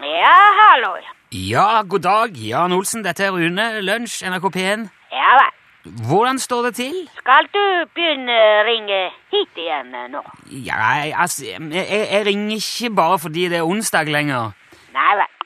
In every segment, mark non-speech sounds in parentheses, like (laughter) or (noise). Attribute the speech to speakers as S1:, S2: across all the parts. S1: Ja, hallo.
S2: Ja, god dag, Jan Olsen. Dette er Rune. Lunsj, NRK P1.
S1: Ja vel.
S2: Hvordan står det til?
S1: Skal du begynne å ringe hit igjen eh, nå?
S2: Ja, jeg, altså, jeg, jeg ringer ikke bare fordi det er onsdag lenger.
S1: Nei vel.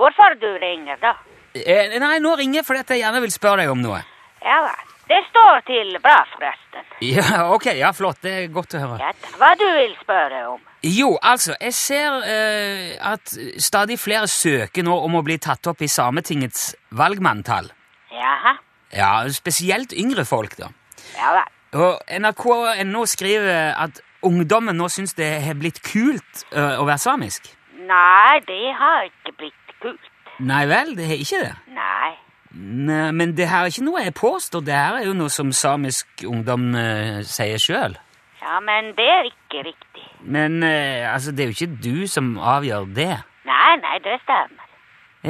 S1: Hvorfor du ringer, da?
S2: Eh, nei, nå ringer jeg fordi at jeg gjerne vil spørre deg om noe.
S1: Ja vel. Det står til bra, forresten.
S2: Ja, ok, ja, flott. Det er godt å høre.
S1: Ja, da. hva du vil spørre om?
S2: Jo, altså, jeg ser eh, at stadig flere søker nå om å bli tatt opp i Sametingets valgmanntall.
S1: Jaha.
S2: Ja, spesielt yngre folk, da.
S1: Ja vel.
S2: Og NRK.no skriver at ungdommen nå syns det har blitt kult eh, å være samisk.
S1: Nei, det har ikke blitt kult.
S2: Nei vel, det har ikke det.
S1: Nei.
S2: Nei, men det her er ikke noe jeg påstår. Det her er jo noe som samisk ungdom eh, sier sjøl.
S1: Ja, men det er ikke riktig.
S2: Men eh, altså, det er jo ikke du som avgjør det.
S1: Nei, nei, det stemmer.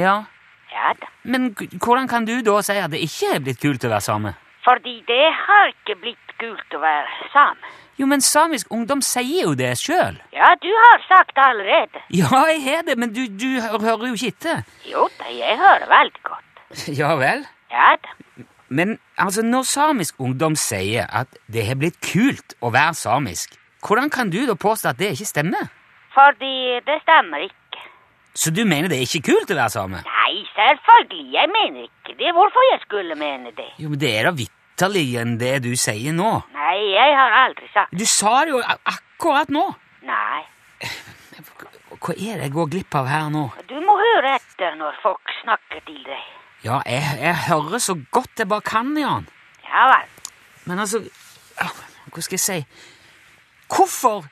S2: Ja,
S1: Ja da.
S2: Men g- hvordan kan du da si at det ikke er blitt kult å være same?
S1: Fordi det har ikke blitt kult å være same.
S2: Jo, men samisk ungdom sier jo det sjøl.
S1: Ja, du har sagt allerede.
S2: (laughs) Ja, jeg har det, men du, du hø- hører jo ikke etter. (laughs)
S1: Jo da, jeg hører veldig godt.
S2: Ja vel?
S1: Ja da.
S2: Men altså, når samisk ungdom sier at det har blitt kult å være samisk, hvordan kan du da påstå at det ikke stemmer?
S1: Fordi det stemmer ikke.
S2: Så du mener det er ikke kult å være same?
S1: Nei, selvfølgelig. Jeg mener ikke det. Hvorfor jeg skulle mene det?
S2: Jo, men det er da vitterlig enn det du sier nå.
S1: Nei, jeg har aldri sagt
S2: Du sa det jo a- akkurat nå.
S1: Nei.
S2: Hva er det jeg går glipp av her nå?
S1: Du må høre etter når folk snakker til deg.
S2: Ja, jeg, jeg hører så godt jeg bare kan, Jan.
S1: Ja vel.
S2: Men altså ah, Hva skal jeg si Hvorfor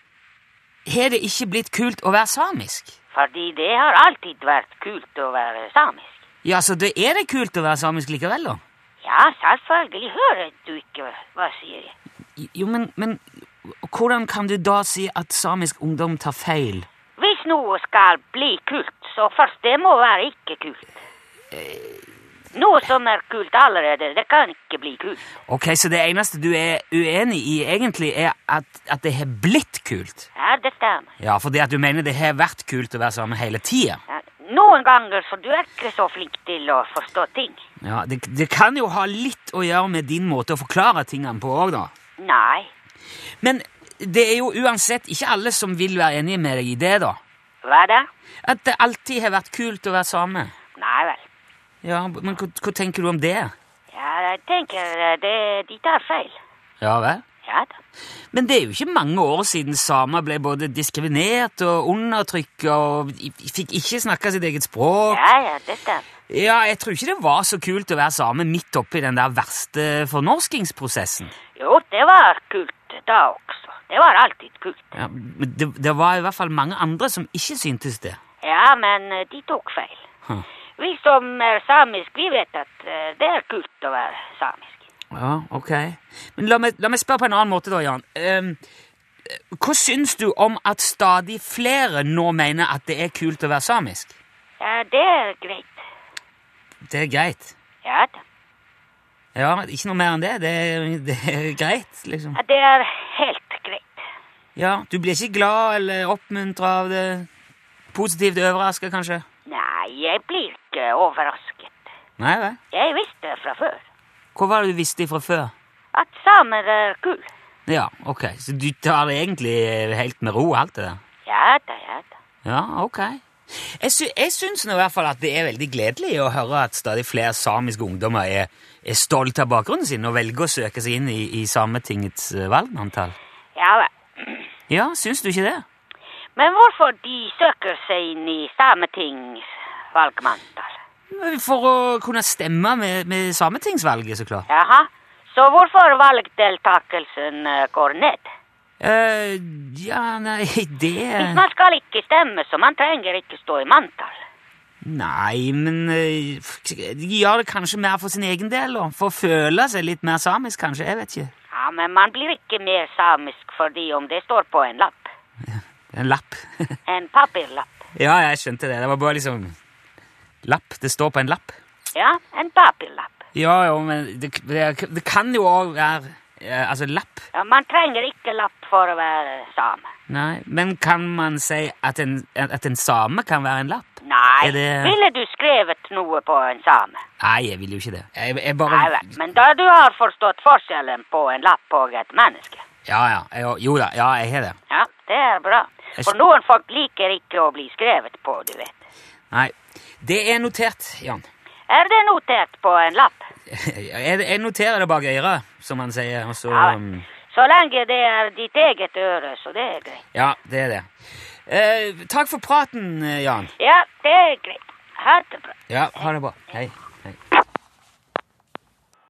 S2: har det ikke blitt kult å være samisk?
S1: Fordi det har alltid vært kult å være samisk.
S2: Ja, så det er det kult å være samisk likevel, da?
S1: Ja, selvfølgelig hører du ikke hva sier jeg.
S2: Jo, men, men hvordan kan du da si at samisk ungdom tar feil?
S1: Hvis noe skal bli kult, så først det må være ikke kult. Noe som er kult allerede, det kan ikke bli kult.
S2: Ok, Så det eneste du er uenig i, egentlig, er at, at det har blitt kult?
S1: Ja, det stemmer.
S2: Ja, fordi at du mener det har vært kult å være same hele tida?
S1: Ja, Noen ganger så du er ikke så flink til å forstå ting.
S2: Ja, det, det kan jo ha litt å gjøre med din måte å forklare tingene på òg, da.
S1: Nei.
S2: Men det er jo uansett ikke alle som vil være enige med deg i det, da.
S1: Hva da?
S2: At det alltid har vært kult å være same.
S1: Nei vel.
S2: Ja, men hva, hva tenker du om det?
S1: Ja, jeg tenker eh, det, de tar feil.
S2: Ja vel?
S1: Ja da.
S2: Men det er jo ikke mange år siden samer ble både diskriminert og undertrykket og i- fikk ikke snakke sitt eget språk.
S1: Ja, ja, det stemmer.
S2: Ja, jeg tror ikke det var så kult å være same midt oppi den der verste fornorskingsprosessen.
S1: Jo, det var kult da også. Det var alltid kult.
S2: Ja, men det, det var i hvert fall mange andre som ikke syntes det.
S1: Ja, men eh, de tok feil.
S2: Hm.
S1: Vi som er samisk, vi vet at eh, det er kult å være samisk.
S2: Ja, ok. Men la meg, la meg spørre på en annen måte, da, Jan. Ehm, hva syns du om at stadig flere nå mener at det er kult å være samisk?
S1: Ja, det er greit.
S2: Det er greit.
S1: Ja da.
S2: Ja, ikke noe mer enn det. Det er, det er greit, liksom.
S1: Ja, det er helt greit.
S2: Ja, Du blir ikke glad eller oppmuntra av det? Positivt overraska, kanskje?
S1: Nei, jeg blir ikke overrasket.
S2: Nei vel?
S1: Jeg visste fra før
S2: Hva var det du visste fra før?
S1: at samer er kul.
S2: Ja, ok. Så du tar det egentlig helt med ro, alt det der?
S1: Ja da, ja da.
S2: Ja, ok. Jeg, sy jeg syns nå i hvert fall at det er veldig gledelig å høre at stadig flere samiske ungdommer er, er stolte av bakgrunnen sin og velger å søke seg inn i, i Sametingets eh, valgmanntall.
S1: Ja vel.
S2: Ja, syns du ikke det?
S1: Men hvorfor de søker seg inn i Sametings valgmanntall?
S2: For å kunne stemme med, med sametingsvalget, så klart.
S1: Jaha. Så hvorfor valgdeltakelsen eh, går ned?
S2: eh ja, nei, (laughs) det
S1: Man skal ikke stemme, så man trenger ikke stå i manntall.
S2: Nei, men eh, De gjør det kanskje mer for sin egen del, da. For å føle seg litt mer samisk, kanskje. Jeg vet ikke.
S1: Ja, men man blir ikke mer samisk fordi om det står på en lapp.
S2: En lapp. (laughs)
S1: En papirlapp.
S2: Ja, jeg skjønte det. Det var bare liksom Lapp. Det står på en lapp.
S1: Ja, en papirlapp.
S2: Ja, jo, men det, det, det kan jo òg være Eh, altså lapp?
S1: Ja, man trenger ikke lapp for å være same.
S2: Nei. Men kan man si at en, at en same kan være en lapp?
S1: Nei,
S2: Er det-
S1: ville du skrevet noe på en same?
S2: Nei, jeg vil jo ikke det. Jeg,
S1: Nei
S2: jeg bare
S1: vel, men da du har forstått forskjellen på en lapp og et menneske.
S2: Ja, ja. Jeg, jo da. Ja, jeg har det.
S1: Ja, det er bra.
S2: Jeg
S1: For
S2: sk-
S1: noen folk liker ikke å bli skrevet på, du vet.
S2: Nei. Det er notert, Jan. (laughs)
S1: Er det notert på en lapp?
S2: Jeg, jeg noterer det bak øret, som han sier. Og så
S1: Ja, vel.
S2: um,
S1: Så lenge det er ditt eget øre, så det er greit.
S2: Ja, det er det. Eh, takk for praten, eh, Jan.
S1: Ja, det er greit. Ha det bra.
S2: Ja, ha det bra. Hei.